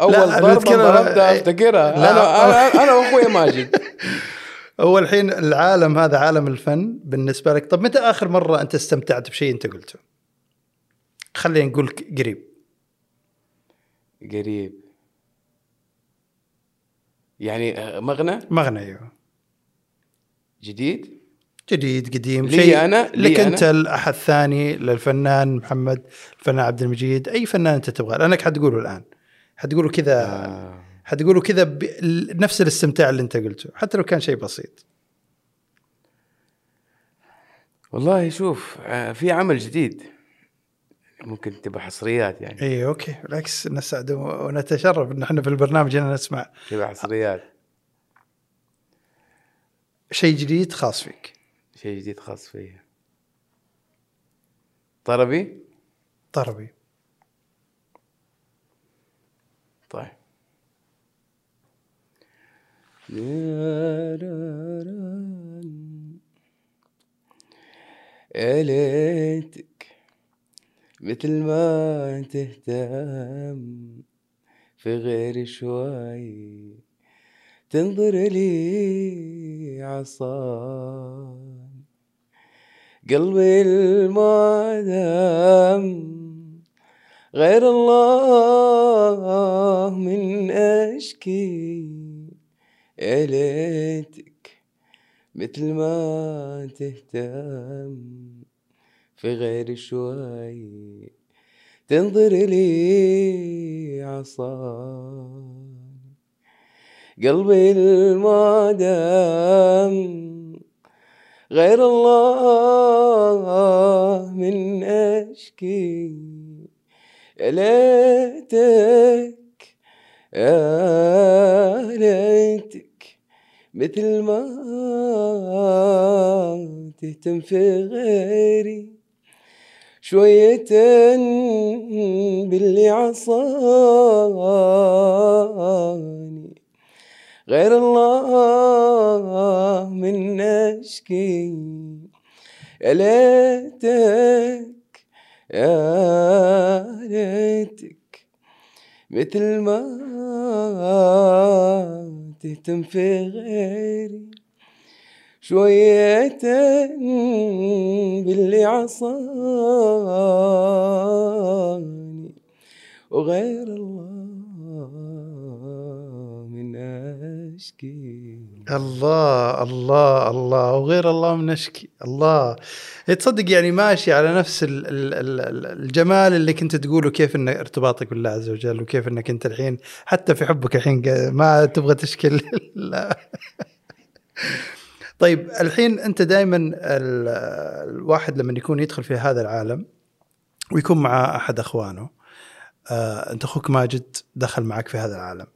Speaker 2: أول
Speaker 1: لا، أنا
Speaker 2: ضربة
Speaker 1: أتكلم-
Speaker 2: ضربتها أفتكرها
Speaker 1: لا.
Speaker 2: أنا أنا, أنا وأخوي ماجد
Speaker 1: هو الحين العالم هذا عالم الفن بالنسبه لك طب متى اخر مره انت استمتعت بشيء انت قلته خلينا نقول ك- قريب
Speaker 2: قريب يعني مغنى
Speaker 1: مغنى ايوه
Speaker 2: جديد
Speaker 1: جديد قديم
Speaker 2: لي أنا؟ لي
Speaker 1: لك
Speaker 2: أنا؟
Speaker 1: انت الاحد الثاني للفنان محمد الفنان عبد المجيد اي فنان انت تبغاه لانك حتقوله الان حتقوله كذا آه.
Speaker 2: آه.
Speaker 1: حتقوله كذا بنفس الاستمتاع اللي انت قلته حتى لو كان شيء بسيط
Speaker 2: والله شوف آه، في عمل جديد ممكن تبقى حصريات يعني
Speaker 1: اي اوكي إيه، بالعكس نسعد و- ونتشرف ان احنا في البرنامج هنا نسمع
Speaker 2: تبقى حصريات
Speaker 1: شيء جديد خاص فيك
Speaker 2: شيء جديد خاص فيا طربي
Speaker 1: طربي
Speaker 2: طيب يا ليتك مثل ما تهتم في غير شوي تنظر لي عصام قلبي المعدم غير الله من أشكي يا ليتك مثل ما تهتم في غير شوي تنظر لي عصام قلبي المعدم غير الله من أشكي يا ليتك يا ليتك مثل ما تهتم في غيري شوية باللي عصاني غير الله من أشكي يا ليتك يا ليتك مثل ما تهتم في غيري شوية باللي عصاني وغير الله من أشكي
Speaker 1: الله الله الله وغير الله من اشكي الله تصدق يعني ماشي على نفس ال- ال- ال- الجمال اللي كنت تقوله كيف ان ارتباطك بالله عز وجل وكيف انك انت الحين حتى في حبك الحين قا- ما تبغى تشكل لا. طيب الحين انت دائما الواحد لما يكون يدخل في هذا العالم ويكون مع احد اخوانه آه، انت اخوك ماجد دخل معك في هذا العالم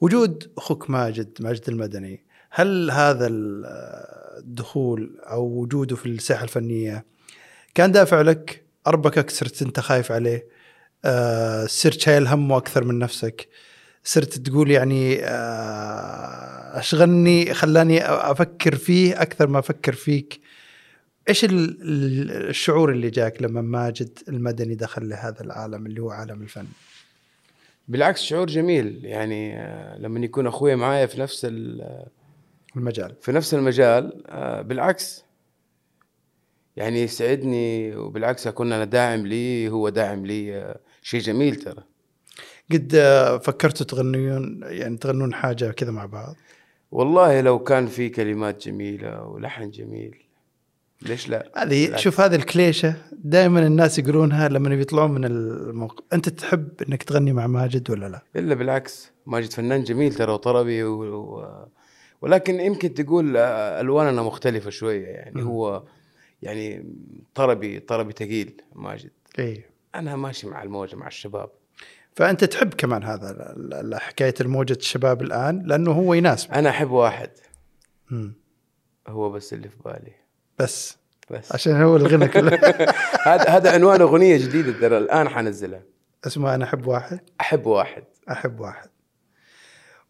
Speaker 1: وجود اخوك ماجد ماجد المدني هل هذا ال- الدخول او وجوده في الساحه الفنيه كان دافع لك اربكك صرت انت خايف عليه آه صرت شايل همه اكثر من نفسك صرت تقول يعني آه اشغلني خلاني أ- افكر فيه اكثر ما افكر فيك ايش ال- ال- الشعور اللي جاك لما ماجد المدني دخل لهذا العالم اللي هو عالم الفن
Speaker 2: بالعكس شعور جميل يعني آه، لما يكون أخوي معايا في نفس ال
Speaker 1: المجال
Speaker 2: في نفس المجال آه، بالعكس يعني يسعدني وبالعكس اكون انا داعم لي هو داعم لي آه، شيء جميل ترى
Speaker 1: قد آه، فكرتوا تغنيون يعني تغنون حاجه كذا مع بعض
Speaker 2: والله لو كان في كلمات جميله ولحن جميل ليش لا
Speaker 1: هذه
Speaker 2: بالعكس.
Speaker 1: شوف هذه الكليشه دائما الناس يقولونها لما يطلعون من الموقف انت تحب انك تغني مع ماجد ولا لا
Speaker 2: الا بالعكس ماجد فنان جميل ترى وطربي و... و... ولكن يمكن تقول آه، الواننا مختلفه شويه يعني
Speaker 1: مم.
Speaker 2: هو يعني طربي طربي ثقيل ماجد
Speaker 1: اي
Speaker 2: انا ماشي مع الموجه مع الشباب
Speaker 1: فانت تحب كمان هذا ال- ال- حكايه الموجه الشباب الان لانه هو يناسبك
Speaker 2: انا احب واحد
Speaker 1: مم.
Speaker 2: هو بس اللي في بالي
Speaker 1: بس
Speaker 2: بس
Speaker 1: عشان هو الغنى كله
Speaker 2: هذا هذا عنوان اغنيه جديده ترى الان حنزلها
Speaker 1: اسمه انا احب واحد
Speaker 2: احب واحد
Speaker 1: احب واحد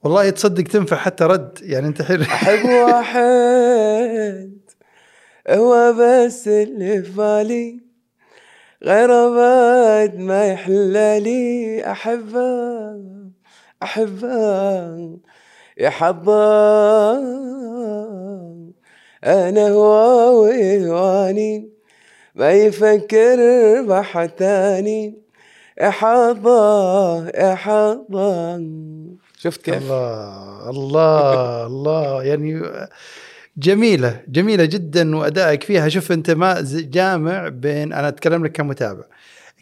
Speaker 1: والله تصدق تنفع حتى رد يعني انت حين
Speaker 2: احب واحد هو بس اللي في بالي غير بعد ما يحلى لي احبه احبه يا حظه انا هواوي هواني ما يفكر بحد تاني يا حظه يا حظه شفت كيف؟
Speaker 1: الله الله الله يعني جميلة جميلة جدا وأدائك فيها شوف أنت ما ز- جامع بين أنا أتكلم لك كمتابع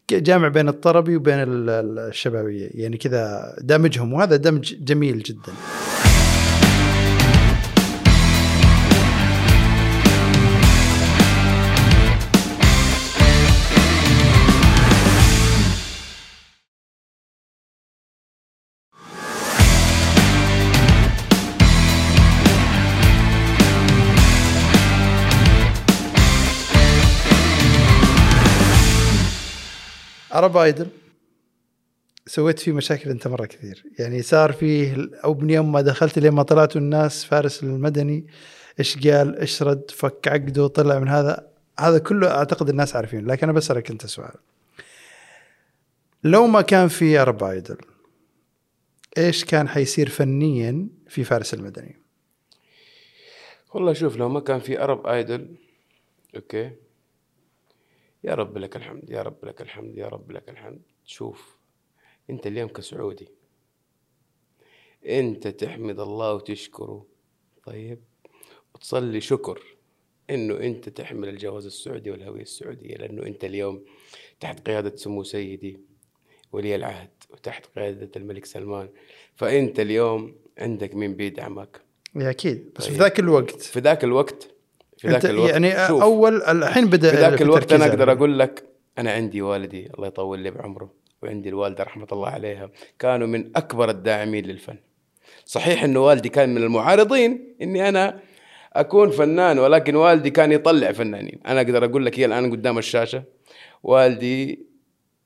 Speaker 1: ك- جامع بين الطربي وبين ال- ال- الشبابية يعني كذا دمجهم وهذا دمج جميل جدا عرب ايدل سويت فيه مشاكل انت مره كثير يعني صار فيه او من يوم ما دخلت لين ما طلعت الناس فارس المدني ايش قال ايش رد فك عقده طلع من هذا هذا كله اعتقد الناس عارفين لكن انا بسالك انت سؤال لو ما كان في عرب ايدل ايش كان حيصير فنيا في فارس المدني
Speaker 2: والله شوف لو ما كان في ارب ايدل اوكي يا رب لك الحمد يا رب لك الحمد يا رب لك الحمد شوف انت اليوم كسعودي انت تحمد الله وتشكره طيب وتصلي شكر انه انت تحمل الجواز السعودي والهويه السعوديه لانه انت اليوم تحت قياده سمو سيدي ولي العهد وتحت قياده الملك سلمان فانت اليوم عندك مين بيدعمك
Speaker 1: يا اكيد يعني بس في
Speaker 2: طيب.
Speaker 1: ذاك الوقت
Speaker 2: في ذاك الوقت في ذاك
Speaker 1: انت
Speaker 2: الوقت
Speaker 1: يعني
Speaker 2: شوف
Speaker 1: اول الحين بدا
Speaker 2: في ذاك الوقت
Speaker 1: التركيز
Speaker 2: انا
Speaker 1: على-
Speaker 2: اقدر اقول لك انا عندي والدي الله يطول لي بعمره وعندي الوالده رحمه الله عليها كانوا من اكبر الداعمين للفن صحيح انه والدي كان من المعارضين اني انا اكون فنان ولكن والدي كان يطلع فنانين انا اقدر اقول لك هي الان قدام الشاشه والدي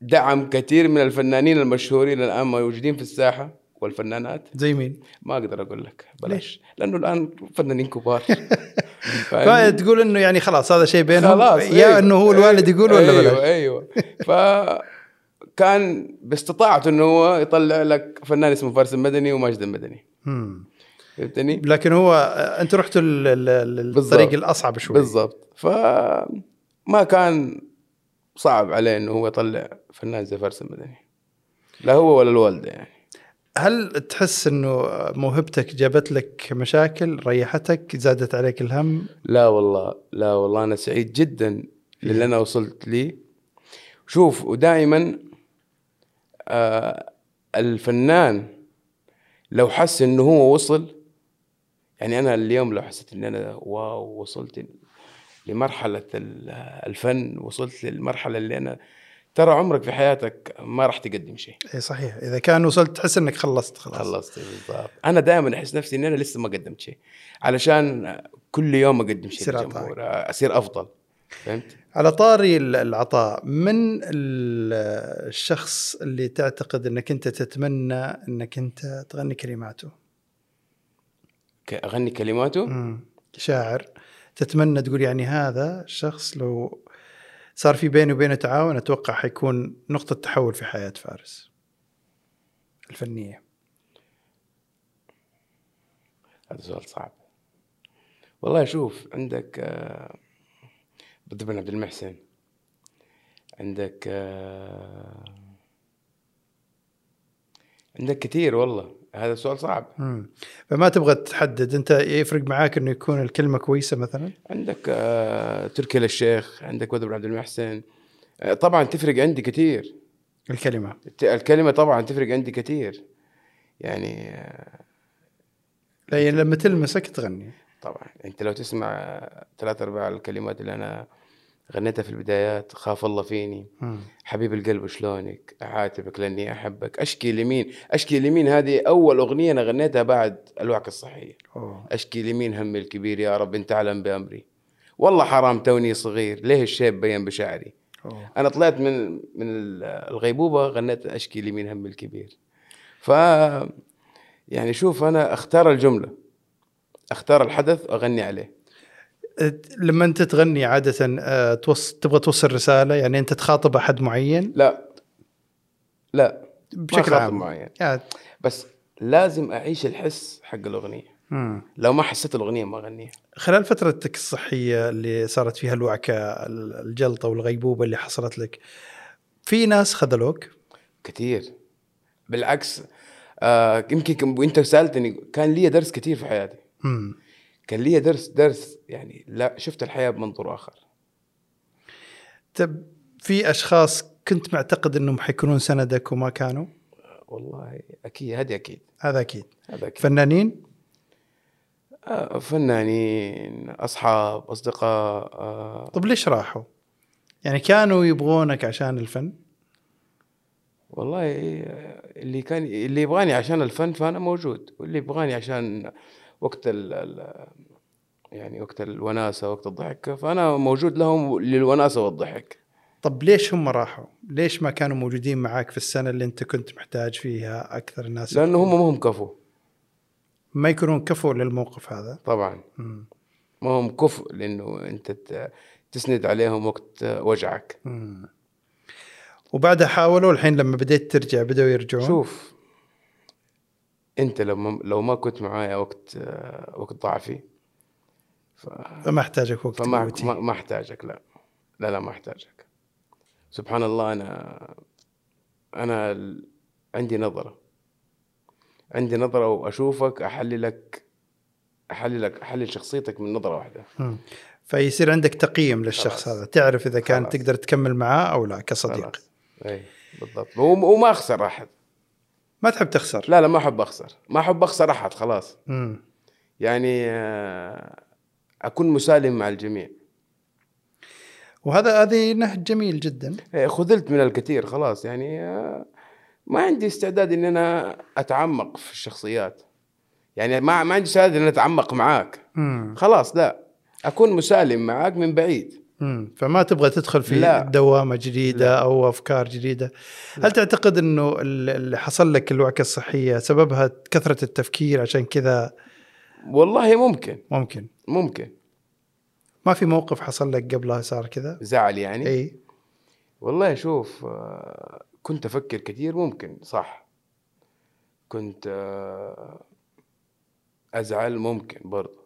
Speaker 2: دعم كثير من الفنانين المشهورين الان موجودين في الساحه والفنانات
Speaker 1: زي مين؟
Speaker 2: ما اقدر اقول لك بلاش لانه الان فنانين كبار فاهمني؟
Speaker 1: فتقول انه يعني خلاص هذا شيء بينهم
Speaker 2: خلاص
Speaker 1: يا
Speaker 2: أيوة.
Speaker 1: انه هو الوالد يقول ولا
Speaker 2: ايوه
Speaker 1: بلاش
Speaker 2: ايوه ف كان باستطاعته انه هو يطلع لك فنان اسمه فارس المدني وماجد المدني
Speaker 1: مم.
Speaker 2: فهمتني؟
Speaker 1: لكن هو انت رحت ال- ال- ال- الطريق
Speaker 2: بالضبط.
Speaker 1: الاصعب شوي
Speaker 2: بالضبط ف ما كان صعب عليه انه هو يطلع فنان زي فارس المدني لا هو ولا الوالده يعني
Speaker 1: هل تحس انه موهبتك جابت لك مشاكل ريحتك زادت عليك الهم
Speaker 2: لا والله لا والله انا سعيد جدا للي انا وصلت ليه شوف ودائما آه الفنان لو حس انه هو وصل يعني انا اليوم لو حسيت ان انا واو وصلت لمرحله ال- الفن وصلت للمرحله اللي انا ترى عمرك في حياتك ما راح تقدم شيء
Speaker 1: اي إيه، صحيح اذا كان وصلت تحس انك خلصت خلاص
Speaker 2: خلصت بالضبط انا دائما احس نفسي ان انا لسه ما قدمت شيء علشان كل يوم اقدم شيء
Speaker 1: يصير
Speaker 2: للجمهور اصير افضل فهمت؟
Speaker 1: على طاري ال- العطاء من ال- الشخص اللي تعتقد انك انت تتمنى انك انت تغني كلماته
Speaker 2: ك- اغني كلماته
Speaker 1: مم. شاعر تتمنى تقول يعني هذا الشخص لو صار في بيني وبينه تعاون اتوقع حيكون نقطة تحول في حياة فارس الفنية
Speaker 2: هذا سؤال صعب والله شوف عندك آه، بدر بن عبد المحسن عندك آه، عندك كثير والله هذا سؤال صعب
Speaker 1: مم. فما تبغى تحدد انت يفرق معاك انه يكون الكلمة كويسة مثلا
Speaker 2: عندك آه، تركي للشيخ عندك بدر بن عبد المحسن آه، طبعا تفرق عندي كثير
Speaker 1: الكلمة
Speaker 2: الت- الكلمة طبعا تفرق عندي كثير يعني آه،
Speaker 1: لأن لما تلمسك تغني
Speaker 2: طبعا انت لو تسمع آه، ثلاث ارباع الكلمات اللي انا غنيتها في البدايات خاف الله فيني
Speaker 1: مم.
Speaker 2: حبيب القلب شلونك اعاتبك لاني احبك اشكي لمين اشكي لمين هذه اول اغنيه انا غنيتها بعد الوعكه الصحيه
Speaker 1: أوه.
Speaker 2: اشكي لمين همي الكبير يا رب انت اعلم بامري والله حرام توني صغير ليه الشيب بين بشعري
Speaker 1: أوه.
Speaker 2: انا طلعت من من الغيبوبه غنيت اشكي لي من هم الكبير ف يعني شوف انا اختار الجمله اختار الحدث واغني عليه
Speaker 1: لما انت تغني عادة آه، توص... تبغى توصل رسالة يعني انت تخاطب احد معين
Speaker 2: لا لا
Speaker 1: بشكل
Speaker 2: خاطب
Speaker 1: عام
Speaker 2: معين.
Speaker 1: يعني...
Speaker 2: بس لازم اعيش الحس حق الاغنيه
Speaker 1: مم.
Speaker 2: لو ما حسيت الاغنيه ما اغنيها
Speaker 1: خلال فترتك الصحية اللي صارت فيها الوعكة ال- الجلطة والغيبوبة اللي حصلت لك في ناس خذلوك
Speaker 2: كثير بالعكس آه يمكن كم- وانت سالتني كان لي درس كثير في حياتي
Speaker 1: مم.
Speaker 2: كان لي درس درس يعني لا شفت الحياه بمنظور اخر
Speaker 1: تب... طيب، في اشخاص كنت معتقد انهم حيكونون سندك وما كانوا
Speaker 2: والله اكيد هذه اكيد
Speaker 1: هذا اكيد
Speaker 2: هذا اكيد
Speaker 1: فنانين
Speaker 2: آه، فنانين اصحاب اصدقاء آه،
Speaker 1: طب طيب، ليش راحوا يعني كانوا يبغونك عشان الفن
Speaker 2: والله آه، اللي كان اللي يبغاني عشان الفن فانا موجود واللي يبغاني عشان وقت ال ال- يعني وقت الوناسه وقت الضحك فانا موجود لهم للوناسه والضحك
Speaker 1: طب طيب، ليش هم راحوا؟ ليش ما كانوا موجودين معاك في السنة اللي أنت كنت محتاج فيها أكثر الناس
Speaker 2: لانه هم ما هم كفو
Speaker 1: ما يكونون كفوا للموقف هذا؟
Speaker 2: طبعا
Speaker 1: مم.
Speaker 2: ما هم كفو لانه انت ت- تسند عليهم وقت وجعك
Speaker 1: مم. وبعدها حاولوا الحين لما بديت ترجع بدأوا يرجعون
Speaker 2: شوف انت لو لو ما كنت معايا وقت آه، وقت ضعفي ف-
Speaker 1: ما احتاجك وقت
Speaker 2: فما
Speaker 1: قوتي.
Speaker 2: ما, ما احتاجك لا لا لا ما احتاجك سبحان الله انا انا ال- عندي نظره عندي نظره واشوفك احللك احللك احلل شخصيتك من نظره واحده
Speaker 1: مم. فيصير عندك تقييم للشخص
Speaker 2: خلاص.
Speaker 1: هذا تعرف إذا كان
Speaker 2: خلاص.
Speaker 1: تقدر تكمل معاه أو لا كصديق
Speaker 2: خلاص. اي بالضبط وم- وما اخسر احد
Speaker 1: ما تحب تخسر
Speaker 2: لا لا ما احب اخسر ما احب اخسر احد خلاص
Speaker 1: مم.
Speaker 2: يعني آه، اكون مسالم مع الجميع
Speaker 1: وهذا هذه نهج جميل جدا
Speaker 2: إيه، خذلت من الكثير خلاص يعني آه، ما عندي استعداد ان انا اتعمق في الشخصيات يعني ما ما عندي استعداد ان أنا اتعمق معاك
Speaker 1: مم.
Speaker 2: خلاص لا اكون مسالم معاك من بعيد
Speaker 1: مم. فما تبغى تدخل في
Speaker 2: لا.
Speaker 1: دوامه جديده لا. او افكار جديده هل تعتقد انه ال- اللي حصل لك الوعكه الصحيه سببها كثره التفكير عشان كذا
Speaker 2: والله ممكن
Speaker 1: ممكن
Speaker 2: ممكن
Speaker 1: ما في
Speaker 2: يعني.
Speaker 1: موقف حصل لك قبلها صار كذا
Speaker 2: زعل يعني
Speaker 1: اي
Speaker 2: والله شوف آه، كنت افكر كثير ممكن صح كنت آه، ازعل ممكن برضه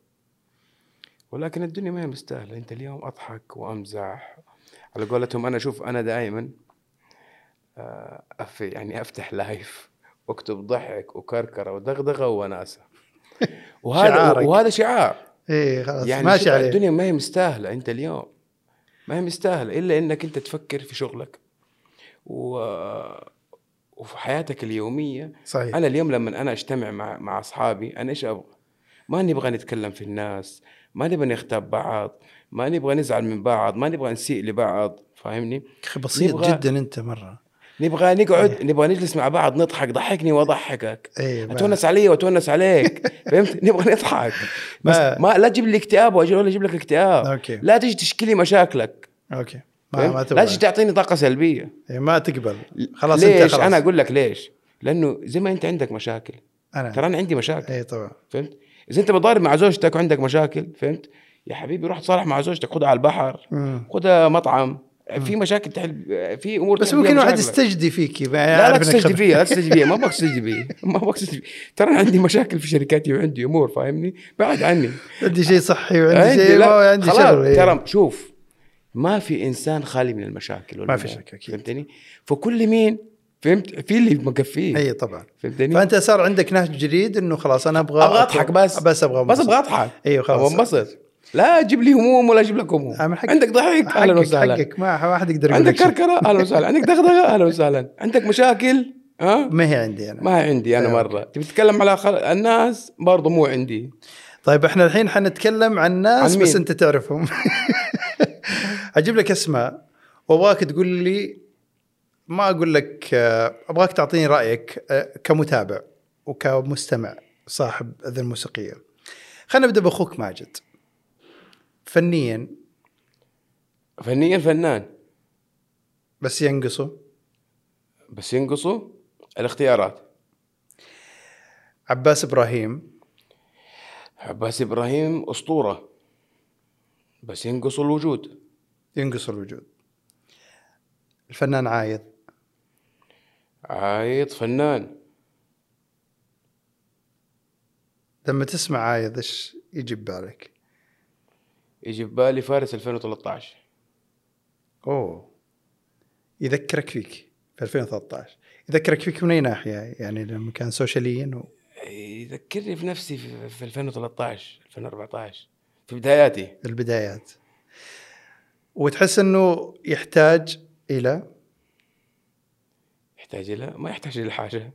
Speaker 2: ولكن الدنيا ما هي مستاهله انت اليوم اضحك وامزح على قولتهم انا شوف انا دائما آه، أف يعني افتح لايف واكتب ضحك وكركره ودغدغه وناسه وهذا
Speaker 1: شعارك.
Speaker 2: وهذا شعار
Speaker 1: ايه خلاص
Speaker 2: يعني
Speaker 1: ماشي
Speaker 2: شوف،
Speaker 1: عليه
Speaker 2: الدنيا ما هي مستاهله انت اليوم ما هي مستاهله الا انك انت تفكر في شغلك و... وفي حياتك اليوميه
Speaker 1: صحيح
Speaker 2: انا اليوم لما انا اجتمع مع مع اصحابي انا ايش ابغى؟ ما نبغى نتكلم في الناس، ما نبغى نغتاب بعض، ما نبغى نزعل من بعض، ما نبغى نسيء لبعض، فاهمني؟
Speaker 1: اخي بسيط
Speaker 2: نبغى-
Speaker 1: جدا انت مره
Speaker 2: نبغى نقعد
Speaker 1: إيه.
Speaker 2: نبغى نجلس مع بعض نضحك، ضحكني واضحكك،
Speaker 1: ايه ما,
Speaker 2: اتونس علي واتونس عليك، فهمت؟ نبغى نضحك بس
Speaker 1: ما-
Speaker 2: ما لا تجيب لي اكتئاب وأجي- ولا اجيب لك اكتئاب،
Speaker 1: اوكي
Speaker 2: لا تجي تشكي لي مشاكلك
Speaker 1: اوكي ما, ما
Speaker 2: فهمت؟ لا
Speaker 1: تبغى
Speaker 2: تجي تعطيني طاقه سلبيه
Speaker 1: إيه، ما تقبل خلاص
Speaker 2: ليش؟
Speaker 1: انت خلاص
Speaker 2: انا اقول لك ليش؟ لانه زي ما انت عندك مشاكل ترى
Speaker 1: انا
Speaker 2: انا عندي مشاكل
Speaker 1: ايه طبعا
Speaker 2: فهمت؟ اذا انت متضارب مع زوجتك وعندك مشاكل فهمت؟ يا حبيبي روح تصالح مع زوجتك خدها على البحر
Speaker 1: مم.
Speaker 2: خدها مطعم
Speaker 1: مم.
Speaker 2: في مشاكل تحل في امور
Speaker 1: بس
Speaker 2: تحل فيها
Speaker 1: ممكن واحد
Speaker 2: مشاكلك.
Speaker 1: يستجدي فيك يعني
Speaker 2: لا لا
Speaker 1: عارف إنك
Speaker 2: تستجدي
Speaker 1: خبير.
Speaker 2: فيها لا تستجدي فيها ما ابغى تستجدي فيها ما ابغى تستجدي فيها. ترى أنا عندي مشاكل في شركاتي وعندي امور فاهمني؟ بعد عني
Speaker 1: عندي شيء صحي وعندي شيء
Speaker 2: لا،
Speaker 1: ما عندي
Speaker 2: خلاص،
Speaker 1: شغل إيه.
Speaker 2: ترى شوف ما في انسان خالي من المشاكل
Speaker 1: ما في
Speaker 2: والأمور.
Speaker 1: شك، أكيد.
Speaker 2: فهمتني؟ فكل مين فهمت في اللي مكفيه
Speaker 1: اي طبعا
Speaker 2: فهمتني؟
Speaker 1: فانت إيه، صار عندك نهج جديد انه خلاص انا ابغى
Speaker 2: أبغى أضحك بس.
Speaker 1: بس ابغى
Speaker 2: بس
Speaker 1: أنبسط.
Speaker 2: ابغى اضحك
Speaker 1: ايوه
Speaker 2: خلاص
Speaker 1: خلاص
Speaker 2: انبسط لا اجيب لي هموم ولا اجيب لك هموم
Speaker 1: أعمل حقك.
Speaker 2: عندك ضحك اهلا
Speaker 1: حقك
Speaker 2: وسهلا
Speaker 1: حقك ما ما حد يقدر يقول
Speaker 2: عندك
Speaker 1: لك شيء.
Speaker 2: كركره اهلا وسهلا عندك دغدغه اهلا وسهلا عندك مشاكل ها
Speaker 1: ما هي عندي انا
Speaker 2: ما عندي انا
Speaker 1: أيوة.
Speaker 2: مره تبي تتكلم على خل... الناس برضه مو عندي
Speaker 1: طيب احنا الحين حنتكلم عن ناس
Speaker 2: عن
Speaker 1: بس
Speaker 2: مين؟
Speaker 1: انت تعرفهم اجيب لك اسماء وابغاك تقول لي ما اقول لك آه، ابغاك تعطيني رايك آه، كمتابع وكمستمع صاحب اذن موسيقيه خلينا نبدا باخوك ماجد فنيا
Speaker 2: فنيا فنان
Speaker 1: بس ينقصه
Speaker 2: بس ينقصوا الاختيارات
Speaker 1: عباس ابراهيم
Speaker 2: عباس ابراهيم اسطوره بس ينقصوا الوجود
Speaker 1: ينقص الوجود الفنان عايض
Speaker 2: عايض فنان
Speaker 1: لما تسمع عايض ايش يجي ببالك؟
Speaker 2: يجي في بالي فارس 2013
Speaker 1: اوه يذكرك فيك في 2013 يذكرك فيك من اي ناحيه يعني لما كان سوشياليا و...
Speaker 2: يذكرني في نفسي في في 2013 2014 في بداياتي
Speaker 1: البدايات وتحس انه يحتاج الى
Speaker 2: يحتاج الى ما يحتاج الى حاجه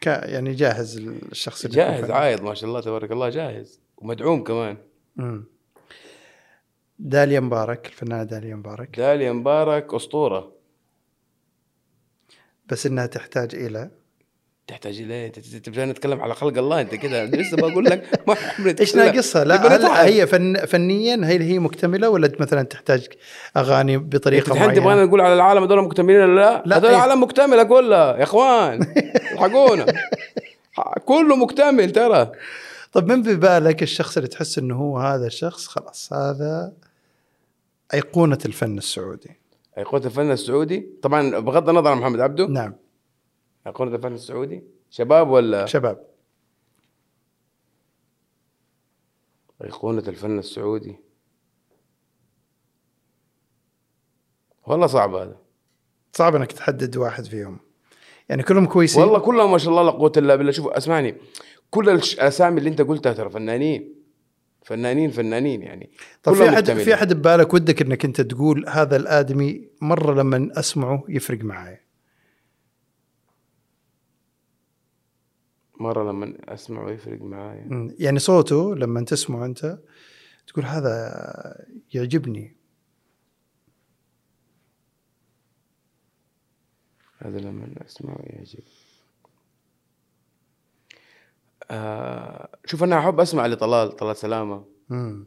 Speaker 1: ك... يعني جاهز الشخص اللي يكون
Speaker 2: جاهز
Speaker 1: فنان.
Speaker 2: عايض ما شاء الله تبارك الله جاهز ومدعوم كمان
Speaker 1: مم. داليا مبارك الفنانه داليا مبارك
Speaker 2: داليا مبارك اسطوره
Speaker 1: بس انها تحتاج الى
Speaker 2: تحتاج الى انت تبغى نتكلم على خلق الله انت كذا لسه بقول لك ما عمري
Speaker 1: ايش
Speaker 2: تتكلم.
Speaker 1: ناقصها؟ لا
Speaker 2: نبغى
Speaker 1: هل
Speaker 2: نتعب.
Speaker 1: هي فن... فنيا هل هي مكتمله ولا مثلا تحتاج اغاني
Speaker 2: انت
Speaker 1: بطريقه
Speaker 2: الحين تبغانا
Speaker 1: معينه؟
Speaker 2: نقول على العالم هذول مكتملين ولا لا؟
Speaker 1: لا،
Speaker 2: هذول
Speaker 1: إيه.
Speaker 2: العالم مكتمله كلها يا اخوان الحقونا ح- كله مكتمل ترى
Speaker 1: طب طيب، من ببالك الشخص اللي تحس انه هو هذا الشخص خلاص هذا ايقونه الفن السعودي
Speaker 2: ايقونه الفن السعودي طبعا بغض النظر عن محمد عبده
Speaker 1: نعم
Speaker 2: ايقونه الفن السعودي شباب ولا
Speaker 1: شباب
Speaker 2: أيقونة الفن السعودي والله صعب هذا
Speaker 1: صعب انك تحدد واحد فيهم يعني كلهم كويسين
Speaker 2: والله كلهم ما شاء الله لا قوة إلا بالله شوف أسمعني كل الش- الأسامي اللي أنت قلتها ترى فنانين فنانين فنانين يعني
Speaker 1: طب طيب، في
Speaker 2: كلهم
Speaker 1: احد
Speaker 2: مكتملين.
Speaker 1: في احد ببالك ودك انك انت تقول هذا الادمي مره لما اسمعه يفرق معي
Speaker 2: مرة لما أسمعه يفرق معايا
Speaker 1: مم. يعني صوته لما تسمعه انت تقول هذا يعجبني
Speaker 2: هذا لما أسمعه يعجب آه شوف أنا أحب أسمع لطلال طلال سلامة
Speaker 1: مم.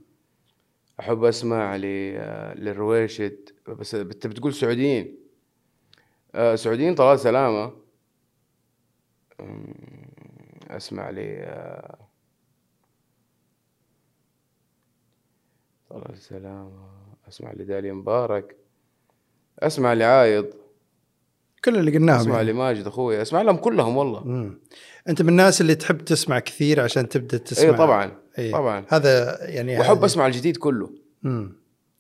Speaker 2: احب اسمع ل- آه، للرويشد بس انت بتقول سعوديين آه، سعوديين طلال سلامه أمم، اسمع ل آه، طلال سلامه اسمع لدالي مبارك اسمع لعايض
Speaker 1: كل اللي قلناهم
Speaker 2: اسمع
Speaker 1: يعني.
Speaker 2: لي ماجد اخوي اسمع لهم كلهم والله
Speaker 1: مم. انت من الناس اللي تحب تسمع كثير عشان تبدا تسمع
Speaker 2: اي طبعا
Speaker 1: إيه.
Speaker 2: طبعا
Speaker 1: هذا يعني
Speaker 2: واحب
Speaker 1: هذا-
Speaker 2: اسمع الجديد كله
Speaker 1: مم.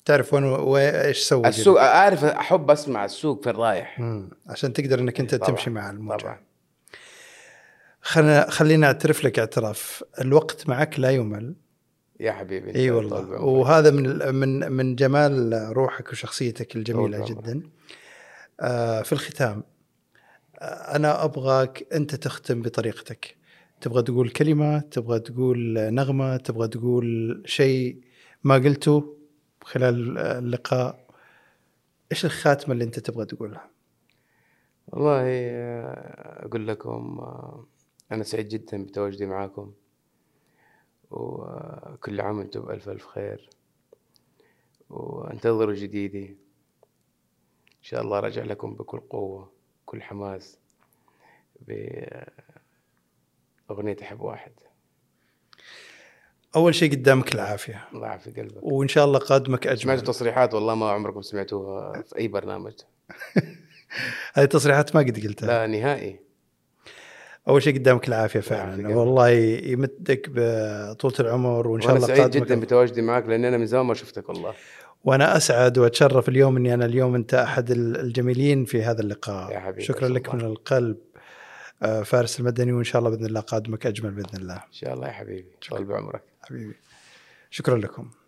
Speaker 1: تعرف وين وايش سوى
Speaker 2: السوق اعرف احب اسمع السوق في الرايح
Speaker 1: مم. عشان تقدر انك انت
Speaker 2: طبعاً،
Speaker 1: تمشي مع الموجه
Speaker 2: طبعا
Speaker 1: خلنا خلينا اعترف لك اعتراف الوقت معك لا يمل
Speaker 2: يا حبيبي
Speaker 1: اي
Speaker 2: طول
Speaker 1: والله
Speaker 2: بعمرك.
Speaker 1: وهذا من ال- من من جمال روحك وشخصيتك الجميله
Speaker 2: طول بعمرك.
Speaker 1: جدا آه في الختام آه انا ابغاك انت تختم بطريقتك تبغى تقول كلمه تبغى تقول نغمه تبغى تقول شيء ما قلته خلال اللقاء ايش الخاتمه اللي انت تبغى تقولها
Speaker 2: والله آه، أقول لكم آه، أنا سعيد جدا بتواجدي معاكم وكل عام وأنتم بألف ألف خير وانتظروا جديدي إن شاء الله راجع لكم بكل قوة كل حماس بأغنية أحب واحد
Speaker 1: اول شيء قدامك العافيه
Speaker 2: الله يعافي قلبك
Speaker 1: وان شاء الله قادمك
Speaker 2: سمعتوا
Speaker 1: اجمل
Speaker 2: تصريحات والله ما عمركم سمعتوها في أي برنامج
Speaker 1: هذه تصريحات ما قد قلتها
Speaker 2: لا نهائي
Speaker 1: اول شيء قدامك العافيه
Speaker 2: يعافيك
Speaker 1: فعلا
Speaker 2: الله.
Speaker 1: والله يمدك بطولة العمر وان شاء
Speaker 2: وأنا
Speaker 1: الله
Speaker 2: سعيد
Speaker 1: قادمك
Speaker 2: جدا بتواجدي معك لأن أنا من زمان ما شفتك والله
Speaker 1: وانا اسعد واتشرف اليوم اني انا اليوم انت احد ال- الجميلين في هذا اللقاء
Speaker 2: يا حبيبي،
Speaker 1: شكرا آه، لك
Speaker 2: الله.
Speaker 1: من القلب آه، فارس المدني وان شاء الله باذن الله قادمك اجمل باذن الله
Speaker 2: إن شاء الله يا حبيبي
Speaker 1: شكراً.
Speaker 2: طول بعمرك
Speaker 1: حبيبي شكرا لكم